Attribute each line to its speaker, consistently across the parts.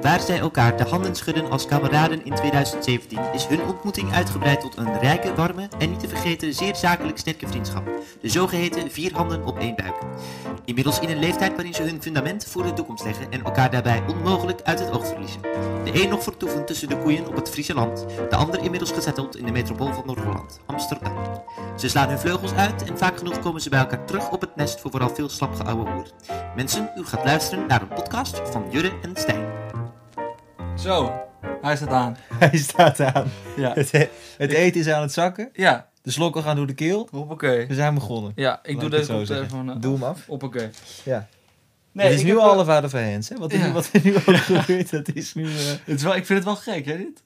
Speaker 1: Waar zij elkaar de handen schudden als kameraden in 2017, is hun ontmoeting uitgebreid tot een rijke, warme en niet te vergeten zeer zakelijk sterke vriendschap. De zogeheten vier handen op één buik. Inmiddels in een leeftijd waarin ze hun fundament voor de toekomst leggen en elkaar daarbij onmogelijk uit het oog verliezen. De een nog vertoevend tussen de koeien op het Friese land, de ander inmiddels gezetteld in de metropool van Noord-Holland, Amsterdam. Ze slaan hun vleugels uit en vaak genoeg komen ze bij elkaar terug op het nest voor vooral veel slapgeouwe hoer. Mensen, u gaat luisteren naar een podcast van Jurre en Stijn.
Speaker 2: Zo, hij staat aan.
Speaker 3: Hij staat aan.
Speaker 2: Ja.
Speaker 3: Het, het eten is aan het zakken.
Speaker 2: Ja,
Speaker 3: De slokken gaan door de keel.
Speaker 2: hoppakee.
Speaker 3: We zijn begonnen.
Speaker 2: Ja, ik
Speaker 3: Laat
Speaker 2: doe
Speaker 3: het
Speaker 2: deze
Speaker 3: zo
Speaker 2: op de
Speaker 3: zeggen.
Speaker 2: telefoon. eh,
Speaker 3: Doe hem af.
Speaker 2: Hoppakee.
Speaker 3: Ja. het is
Speaker 2: ik
Speaker 3: nu
Speaker 2: heb
Speaker 3: al
Speaker 2: wel-
Speaker 3: alle vader van Hens. Hè? Wat, er
Speaker 2: Ja.
Speaker 3: nu, wat er nu ook gebeurt, dat is nu... eh,
Speaker 2: Het is wel, ik vind het wel gek, hè, dit?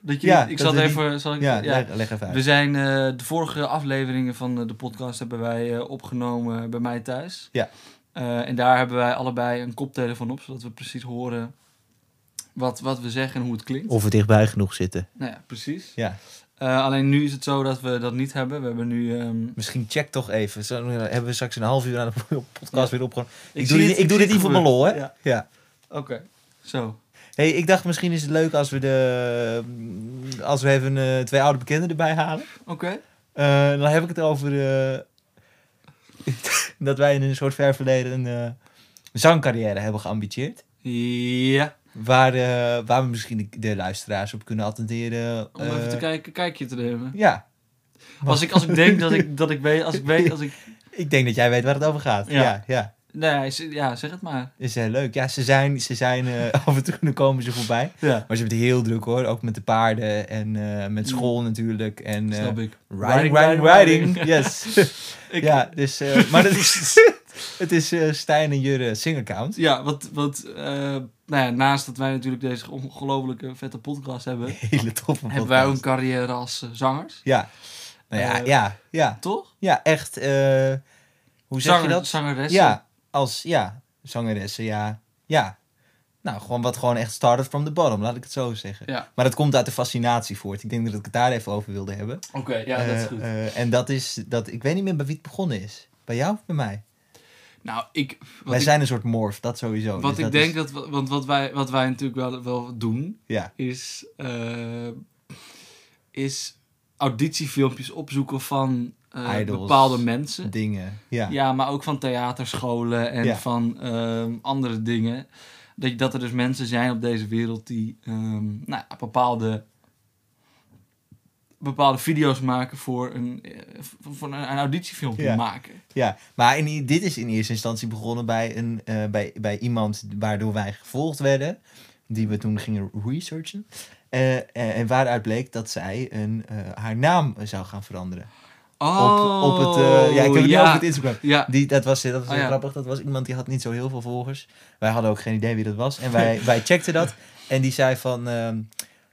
Speaker 2: Dat je,
Speaker 3: Ja,
Speaker 2: ik
Speaker 3: dat
Speaker 2: zat
Speaker 3: we die-
Speaker 2: even... Zal ik,
Speaker 3: ja,
Speaker 2: ja,
Speaker 3: Leg, leg even uit.
Speaker 2: We zijn eh, de vorige afleveringen van eh, de podcast hebben wij eh, opgenomen bij mij thuis.
Speaker 3: Ja.
Speaker 2: Eh, en daar hebben wij allebei een koptelefoon op, zodat we precies horen wat, wat we zeggen en hoe het klinkt.
Speaker 3: Of we dichtbij genoeg zitten.
Speaker 2: Nou ja, precies.
Speaker 3: Ja.
Speaker 2: Eh, alleen nu is het zo dat we dat niet hebben. We hebben nu... ehm,
Speaker 3: Misschien check toch even. Zo, eh, hebben we straks een half uur aan de podcast
Speaker 2: Ja.
Speaker 3: weer opgenomen. Ik,
Speaker 2: zie
Speaker 3: doe, dit,
Speaker 2: het-
Speaker 3: ik doe
Speaker 2: zie
Speaker 3: dit niet voor
Speaker 2: het
Speaker 3: mijn
Speaker 2: gebeuren.
Speaker 3: lol, hè?
Speaker 2: Ja.
Speaker 3: Ja.
Speaker 2: Oké, zo.
Speaker 3: Hey, ik dacht misschien is het leuk als we, de, als we even eh, twee oude bekenden erbij halen.
Speaker 2: Oké.
Speaker 3: Eh, dan heb ik het over eh, dat wij in een soort ver verleden een eh, zangcarrière hebben geambitieerd.
Speaker 2: Ja.
Speaker 3: Waar, eh, waar we misschien de, de luisteraars op kunnen attenderen.
Speaker 2: Om even
Speaker 3: eh,
Speaker 2: te kijken, kijkje te nemen.
Speaker 3: Ja,
Speaker 2: Als ik, als ik denk dat ik, dat ik weet, als ik weet, als ik...
Speaker 3: ik denk dat jij weet waar het over gaat.
Speaker 2: Ja.
Speaker 3: Ja, ja,
Speaker 2: Nee, z- ja, zeg het maar.
Speaker 3: is heel leuk. Ja, ze zijn, ze zijn eh, af en toe dan komen ze voorbij.
Speaker 2: Ja,
Speaker 3: Maar ze hebben het heel druk hoor, ook met de paarden en eh, met school natuurlijk. En, eh,
Speaker 2: Mm. snap ik.
Speaker 3: Riding, riding, riding. Yes.
Speaker 2: Ik-
Speaker 3: Ja, dus, eh, maar dat is, het is eh, Stijn en Jurre singaccount.
Speaker 2: Ja, wat, wat eh, nou ja, naast dat wij natuurlijk deze ongelofelijke vette podcast hebben,
Speaker 3: Hele toffe
Speaker 2: hebben wij ook
Speaker 3: podcast.
Speaker 2: een carrière als eh, zangers,
Speaker 3: Ja. Nou ja,
Speaker 2: Eh,
Speaker 3: ja, ja.
Speaker 2: toch?
Speaker 3: Ja, echt. eh, hoe zeg je dat?
Speaker 2: Zangeressen.
Speaker 3: Ja, als, ja, zangeressen, ja. Ja. Nou, gewoon wat gewoon echt started from the bottom, laat ik het zo zeggen.
Speaker 2: Ja.
Speaker 3: Maar dat komt uit de fascinatie voort. Ik denk dat ik het daar even over wilde hebben.
Speaker 2: Oké, ja, dat is
Speaker 3: Eh,
Speaker 2: goed.
Speaker 3: eh, en dat is, dat, ik weet niet meer bij wie het begonnen is. Bij jou of bij mij?
Speaker 2: nou, ik, wat
Speaker 3: wij
Speaker 2: ik,
Speaker 3: zijn een soort morf, dat sowieso.
Speaker 2: wat
Speaker 3: Dus
Speaker 2: ik
Speaker 3: dat
Speaker 2: denk
Speaker 3: is-
Speaker 2: dat, we- want wat wij, wat wij natuurlijk wel, wel doen,
Speaker 3: ja,
Speaker 2: is, eh, is auditiefilmpjes opzoeken van eh,
Speaker 3: Idols.
Speaker 2: bepaalde mensen.
Speaker 3: dingen. Ja.
Speaker 2: Ja, maar ook van theaterscholen en
Speaker 3: Ja.
Speaker 2: van ehm, andere dingen. Dat, je- dat er dus mensen zijn op deze wereld die ehm, nou, ja, bepaalde, bepaalde video's maken voor een, eh, voor- voor een, een auditiefilmpje
Speaker 3: Ja.
Speaker 2: maken.
Speaker 3: Ja, maar in, i- dit is in eerste instantie begonnen bij, een, eh, bij, bij iemand waardoor wij gevolgd werden. Die we toen gingen researchen. Eh, eh, en waaruit bleek dat zij een, eh, haar naam zou gaan veranderen.
Speaker 2: Oh,
Speaker 3: Op, op het, eh, ja, ik heb het nu over het Instagram.
Speaker 2: Ja,
Speaker 3: Die, dat was, dat was heel
Speaker 2: Oh, ja.
Speaker 3: grappig. Dat was iemand die had niet zo heel veel volgers. Wij hadden ook geen idee wie dat was. En wij, wij checkten dat. En die zei van... ehm,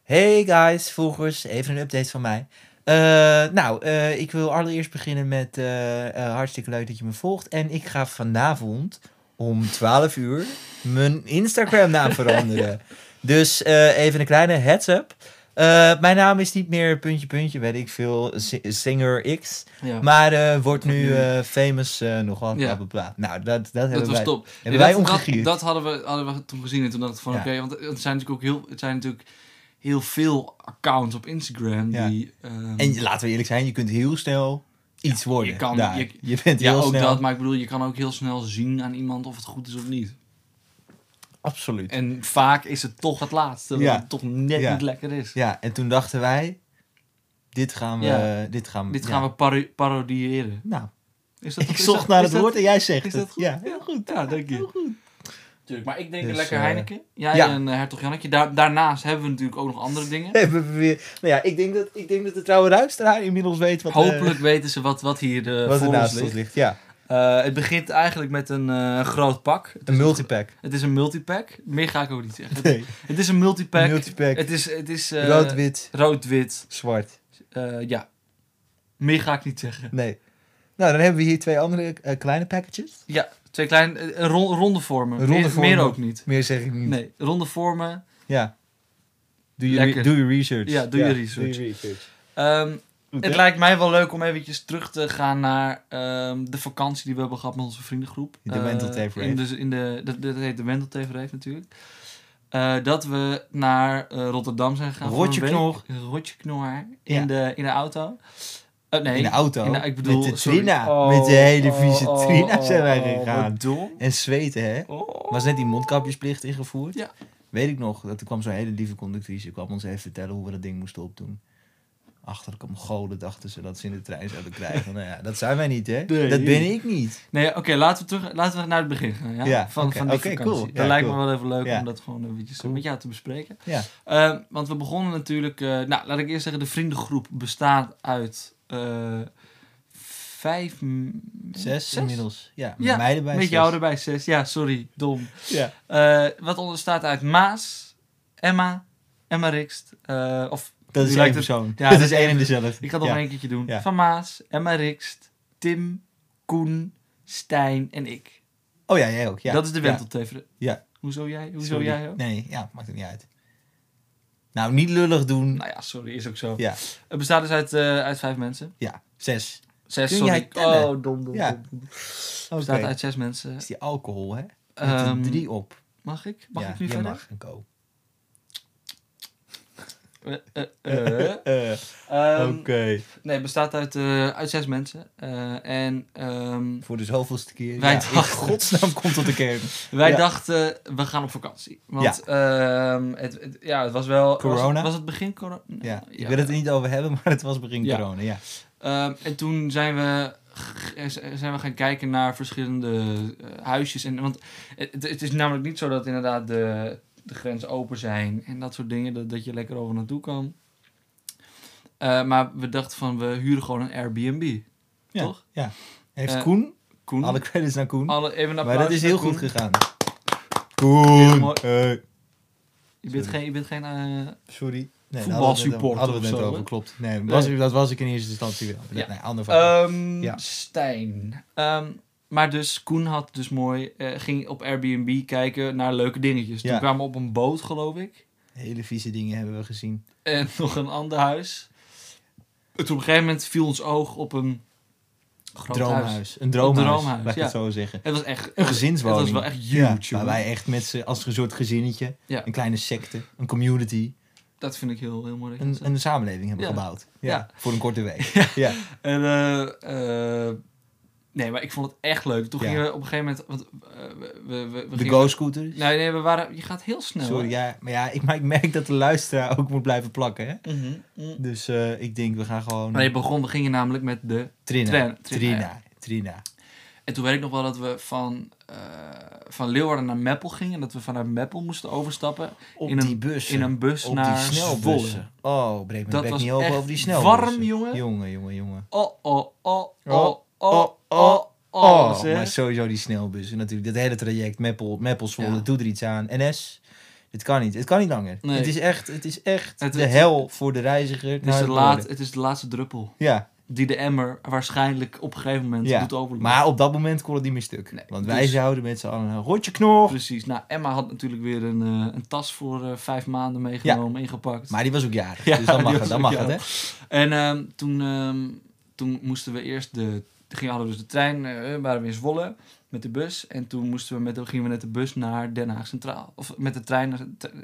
Speaker 3: hey guys, volgers. Even een update van mij. Eh, nou, eh, ik wil allereerst beginnen met... eh, eh, hartstikke leuk dat je me volgt. En ik ga vanavond om 12 uur mijn Instagram naam veranderen. Dus eh, even een kleine heads up. Eh, mijn naam is niet meer puntje puntje, weet ik veel, si- Singer X.
Speaker 2: ja.
Speaker 3: Maar eh, wordt nu
Speaker 2: nu-
Speaker 3: eh, famous eh nogal.
Speaker 2: Ja.
Speaker 3: Ja. Bla, bla. Nou, dat, dat,
Speaker 2: dat
Speaker 3: hebben
Speaker 2: was
Speaker 3: wij.
Speaker 2: top.
Speaker 3: hebben
Speaker 2: Ja,
Speaker 3: wij
Speaker 2: dat, dat,
Speaker 3: omgegierd.
Speaker 2: dat hadden, we, hadden we toen gezien en toen dacht ik van
Speaker 3: Ja.
Speaker 2: oké, want het zijn natuurlijk ook heel, het zijn natuurlijk heel veel accounts op Instagram
Speaker 3: Ja.
Speaker 2: die... ehm,
Speaker 3: En je- laten we eerlijk zijn, je kunt heel snel iets worden.
Speaker 2: je kan-
Speaker 3: daar.
Speaker 2: je-
Speaker 3: bent
Speaker 2: Ja,
Speaker 3: heel
Speaker 2: ook
Speaker 3: snel.
Speaker 2: dat. Maar ik bedoel, je kan ook heel snel zien aan iemand of het goed is of niet.
Speaker 3: Absoluut.
Speaker 2: En vaak is het toch het laatste, dat
Speaker 3: Ja.
Speaker 2: het toch net
Speaker 3: Ja.
Speaker 2: niet lekker is.
Speaker 3: Ja, en toen dachten wij, dit gaan we,
Speaker 2: Ja.
Speaker 3: dit gaan we,
Speaker 2: Dit
Speaker 3: ja.
Speaker 2: gaan we paro- parodiëren.
Speaker 3: Nou,
Speaker 2: Is dat,
Speaker 3: ik
Speaker 2: is
Speaker 3: zocht
Speaker 2: dat-
Speaker 3: naar
Speaker 2: is
Speaker 3: het
Speaker 2: dat-
Speaker 3: woord en jij zegt
Speaker 2: is
Speaker 3: het.
Speaker 2: dat goed?
Speaker 3: Ja, heel goed.
Speaker 2: Ja, dank je. Tuurlijk, maar ik denk een
Speaker 3: Dus,
Speaker 2: lekker
Speaker 3: eh,
Speaker 2: Heineken. Jij
Speaker 3: ja.
Speaker 2: en eh, Hertog Jannetje. Daar, daarnaast hebben we natuurlijk ook nog andere dingen.
Speaker 3: Hebben we weer. Nou ja, ik denk dat, ik denk dat de trouwe luisteraar inmiddels weet wat, eh,
Speaker 2: Hopelijk weten ze wat, wat hier eh,
Speaker 3: wat er
Speaker 2: voor ons
Speaker 3: naast
Speaker 2: ligt.
Speaker 3: ons ligt. Ja,
Speaker 2: Eh, het begint eigenlijk met een eh, groot pak.
Speaker 3: een multipack.
Speaker 2: Het is een multipack. Meer ga ik ook niet zeggen.
Speaker 3: Nee,
Speaker 2: Het is een multipack.
Speaker 3: multipack.
Speaker 2: Het is, het is eh,
Speaker 3: Rood, wit,
Speaker 2: rood-wit.
Speaker 3: zwart.
Speaker 2: Eh, ja. Meer ga ik niet zeggen.
Speaker 3: Nee. Nou, dan hebben we hier twee andere eh, kleine packages.
Speaker 2: Ja, twee kleine, eh, een ron- ronde vormen.
Speaker 3: Ronde
Speaker 2: meer,
Speaker 3: vormen.
Speaker 2: meer ook niet.
Speaker 3: Meer zeg ik niet.
Speaker 2: Nee, ronde vormen.
Speaker 3: Ja. Doe je,
Speaker 2: Lekker.
Speaker 3: re- doe je research.
Speaker 2: Ja, doe je research.
Speaker 3: Doe je research.
Speaker 2: Ehm,
Speaker 3: Goed,
Speaker 2: het
Speaker 3: hè?
Speaker 2: lijkt mij wel leuk om eventjes terug te gaan naar ehm, de vakantie die we hebben gehad met onze vriendengroep.
Speaker 3: De Wendeltape
Speaker 2: Eh, in de, in de, dat, dat heet de Wendeltape Rave natuurlijk. eh, dat we naar eh, Rotterdam zijn gegaan. voor een
Speaker 3: Rotje
Speaker 2: week.
Speaker 3: knor.
Speaker 2: Rotje knor in,
Speaker 3: Ja.
Speaker 2: de, in de auto. Eh, nee,
Speaker 3: in de auto.
Speaker 2: in de- ik bedoel,
Speaker 3: met de
Speaker 2: sorry.
Speaker 3: trina.
Speaker 2: Oh,
Speaker 3: met de hele
Speaker 2: oh,
Speaker 3: vieze
Speaker 2: oh,
Speaker 3: trina
Speaker 2: oh,
Speaker 3: zijn wij
Speaker 2: oh,
Speaker 3: gegaan.
Speaker 2: wat dom.
Speaker 3: En zweten, hè?
Speaker 2: Oh.
Speaker 3: Was net die mondkapjesplicht ingevoerd.
Speaker 2: Ja.
Speaker 3: Weet ik nog, dat er kwam zo'n hele lieve conductrice. Die kwam ons even vertellen hoe we dat ding moesten opdoen. Achterlijke Mongolen dachten ze dat ze in de trein zouden krijgen. nou ja, dat zijn wij niet, hè?
Speaker 2: Nee.
Speaker 3: dat ben ik niet.
Speaker 2: Nee, oké, laten we terug, laten we naar het begin gaan. Ja?
Speaker 3: Ja,
Speaker 2: van,
Speaker 3: oké,
Speaker 2: van die
Speaker 3: oké,
Speaker 2: vakantie.
Speaker 3: cool.
Speaker 2: Dat
Speaker 3: Ja,
Speaker 2: lijkt
Speaker 3: cool.
Speaker 2: me wel even leuk
Speaker 3: Ja.
Speaker 2: om dat gewoon eventjes
Speaker 3: Cool.
Speaker 2: met jou te bespreken.
Speaker 3: Ja.
Speaker 2: Eh, want we begonnen natuurlijk... eh, nou, laat ik eerst zeggen, de vriendengroep bestaat uit eh, vijf... m-
Speaker 3: Zes, inmiddels. Ja, met
Speaker 2: Ja,
Speaker 3: mij erbij.
Speaker 2: Met
Speaker 3: zes.
Speaker 2: jou erbij, zes. Ja, sorry, dom.
Speaker 3: Ja.
Speaker 2: Eh, wat onderstaat uit Maas, Emma, Emma Rikst. eh, of
Speaker 3: Dat
Speaker 2: Nu
Speaker 3: is één
Speaker 2: lijkt het-
Speaker 3: persoon.
Speaker 2: Ja,
Speaker 3: dat
Speaker 2: dat
Speaker 3: is één en
Speaker 2: is-
Speaker 3: dezelfde.
Speaker 2: ik ga het nog
Speaker 3: Ja.
Speaker 2: maar één keertje doen.
Speaker 3: Ja.
Speaker 2: Van Maas, Emma Rikst, Tim, Koen, Stijn en ik.
Speaker 3: Oh ja, jij ook. Ja.
Speaker 2: Dat is de wenteltevere.
Speaker 3: Ja.
Speaker 2: Hoezo jij? Hoezo
Speaker 3: Sorry.
Speaker 2: jij ook?
Speaker 3: Nee, ja, maakt het niet uit. Nou, niet lullig doen.
Speaker 2: Nou ja, sorry, is ook zo.
Speaker 3: Ja,
Speaker 2: Het bestaat dus uit, eh, uit vijf mensen.
Speaker 3: ja. Zes.
Speaker 2: Zes,
Speaker 3: Kun
Speaker 2: sorry.
Speaker 3: jij tellen?
Speaker 2: Oh, dom, dom,
Speaker 3: Ja.
Speaker 2: dom. dom. Het
Speaker 3: Oké.
Speaker 2: bestaat uit zes mensen.
Speaker 3: Dat is die alcohol, hè? Met
Speaker 2: Ehm,
Speaker 3: er drie op.
Speaker 2: Mag ik? Mag
Speaker 3: ja,
Speaker 2: ik nu
Speaker 3: je
Speaker 2: verder?
Speaker 3: mag een ko.
Speaker 2: Eh, eh, eh.
Speaker 3: Eh,
Speaker 2: Ehm,
Speaker 3: Oké.
Speaker 2: Nee, het bestaat uit, eh, uit zes mensen. Eh, en ehm,
Speaker 3: Voor de zoveelste keer.
Speaker 2: Wij
Speaker 3: ja,
Speaker 2: dachten-
Speaker 3: In godsnaam komt tot de kern.
Speaker 2: wij
Speaker 3: Ja.
Speaker 2: dachten, we gaan op vakantie. Want ehm, het, het- ja, het was wel... Was
Speaker 3: Corona?
Speaker 2: het, was het begin corona?
Speaker 3: Ja, ik wil het er niet over hebben, maar het was begin
Speaker 2: Ja.
Speaker 3: corona. Ja.
Speaker 2: Ehm, en toen zijn we, g- eh, zijn we gaan kijken naar verschillende eh, huisjes. En, want het, het is namelijk niet zo dat inderdaad de, de grenzen open zijn en dat soort dingen, dat, dat je lekker over naartoe kan. Eh, maar we dachten van, we huren gewoon een Airbnb.
Speaker 3: Ja.
Speaker 2: Toch?
Speaker 3: Ja. Heeft
Speaker 2: Eh,
Speaker 3: Koen,
Speaker 2: Koen,
Speaker 3: alle credits naar Koen.
Speaker 2: alle- even een
Speaker 3: maar dat
Speaker 2: applaus
Speaker 3: is
Speaker 2: voor
Speaker 3: heel
Speaker 2: Koen.
Speaker 3: goed gegaan.
Speaker 2: Heel
Speaker 3: Koen,
Speaker 2: mooi.
Speaker 3: eh,
Speaker 2: Je bent
Speaker 3: Sorry.
Speaker 2: geen, je bent geen eh,
Speaker 3: sorry. Nee,
Speaker 2: Voetbalsupporter
Speaker 3: Hadden we het
Speaker 2: of
Speaker 3: net
Speaker 2: zo,
Speaker 3: over,
Speaker 2: hè?
Speaker 3: klopt. Nee, was
Speaker 2: Nee.
Speaker 3: ik- dat was ik in eerste instantie wel.
Speaker 2: Ja.
Speaker 3: Nee, ander verhaal.
Speaker 2: Ehm
Speaker 3: Ja.
Speaker 2: Stijn. Ehm, maar dus, Koen had dus mooi, eh, ging op Airbnb kijken naar leuke dingetjes. Toen
Speaker 3: Ja.
Speaker 2: kwamen we op een boot, geloof ik.
Speaker 3: Hele vieze dingen hebben we gezien.
Speaker 2: En nog een ander huis. En Toen op een gegeven moment viel ons oog op een groot
Speaker 3: droomhuis.
Speaker 2: huis.
Speaker 3: Een droomhuis,
Speaker 2: droomhuis,
Speaker 3: laat ik
Speaker 2: ja.
Speaker 3: het zo zeggen.
Speaker 2: Het was echt...
Speaker 3: Een gezinswoning.
Speaker 2: Het was wel echt
Speaker 3: Ja,
Speaker 2: huge.
Speaker 3: waar
Speaker 2: hoor.
Speaker 3: wij echt met z'n, als een soort gezinnetje,
Speaker 2: Ja.
Speaker 3: een kleine secte, een community,
Speaker 2: Dat vind ik heel, heel mooi. dat je
Speaker 3: een,
Speaker 2: dat zegt.
Speaker 3: een samenleving hebben
Speaker 2: Ja.
Speaker 3: gebouwd. Ja,
Speaker 2: Ja.
Speaker 3: Voor een korte week. ja. Ja.
Speaker 2: En, eh, eh, nee, maar ik vond het echt leuk. Toen
Speaker 3: Ja.
Speaker 2: gingen we op een gegeven moment... Want, eh, we, we, we, we
Speaker 3: De
Speaker 2: gingen-
Speaker 3: go-scooter.
Speaker 2: Nee, nee, we waren... Je gaat heel snel.
Speaker 3: Sorry,
Speaker 2: hè?
Speaker 3: ja, maar ja, ik, maar ik merk dat de luisteraar ook moet blijven plakken. Hè?
Speaker 2: Mhm, mhm.
Speaker 3: Dus eh, ik denk, we gaan gewoon...
Speaker 2: Maar je begon, we gingen namelijk met de
Speaker 3: Trina.
Speaker 2: Trina,
Speaker 3: Trina.
Speaker 2: Trina,
Speaker 3: Trina.
Speaker 2: ja. En toen weet ik nog wel dat we van, eh, van Leeuwarden naar Meppel gingen. En dat we vanuit Meppel moesten overstappen.
Speaker 3: Op
Speaker 2: In een-
Speaker 3: die bus.
Speaker 2: In een bus
Speaker 3: op
Speaker 2: naar
Speaker 3: die
Speaker 2: Zwolle.
Speaker 3: snelbussen. Oh, breek
Speaker 2: Dat
Speaker 3: mijn bek
Speaker 2: was
Speaker 3: niet open
Speaker 2: echt
Speaker 3: over die snelbussen.
Speaker 2: warm, jongen.
Speaker 3: Jongen, jongen, jongen.
Speaker 2: Oh, oh, oh,
Speaker 3: Oh,
Speaker 2: oh, oh, oh,
Speaker 3: Oh,
Speaker 2: zeg.
Speaker 3: maar sowieso die snelbussen natuurlijk. Dat hele traject, Meppel, Meppel Zwolle,
Speaker 2: Ja.
Speaker 3: doe er iets aan. NS, dit kan niet. Het kan niet langer.
Speaker 2: Nee.
Speaker 3: Het is echt, het is echt
Speaker 2: Het-
Speaker 3: de
Speaker 2: het-
Speaker 3: hel voor de reiziger.
Speaker 2: Het is, de laat,
Speaker 3: laat.
Speaker 2: het is de laatste druppel.
Speaker 3: Ja,
Speaker 2: Die de emmer waarschijnlijk op een gegeven moment
Speaker 3: Ja,
Speaker 2: doet overlopen.
Speaker 3: maar op dat moment kon het niet meer stuk.
Speaker 2: Nee,
Speaker 3: Want
Speaker 2: dus-
Speaker 3: wij zouden met z'n allen een rotje knor.
Speaker 2: Precies. Nou, Emma had natuurlijk weer een, eh, een tas voor eh, vijf maanden meegenomen, ingepakt.
Speaker 3: Maar die was ook jarig,
Speaker 2: Ja,
Speaker 3: dus dan
Speaker 2: die
Speaker 3: mag
Speaker 2: was
Speaker 3: het. Dan
Speaker 2: ook
Speaker 3: mag het, hè?
Speaker 2: jarig. En ehm, toen, ehm, toen moesten we eerst de. Gingen, hadden we dus de trein, eh, waren we in Zwolle met de bus. En toen moesten we met, gingen we met de bus naar Den Haag Centraal. Of met de trein naar. Te- eh,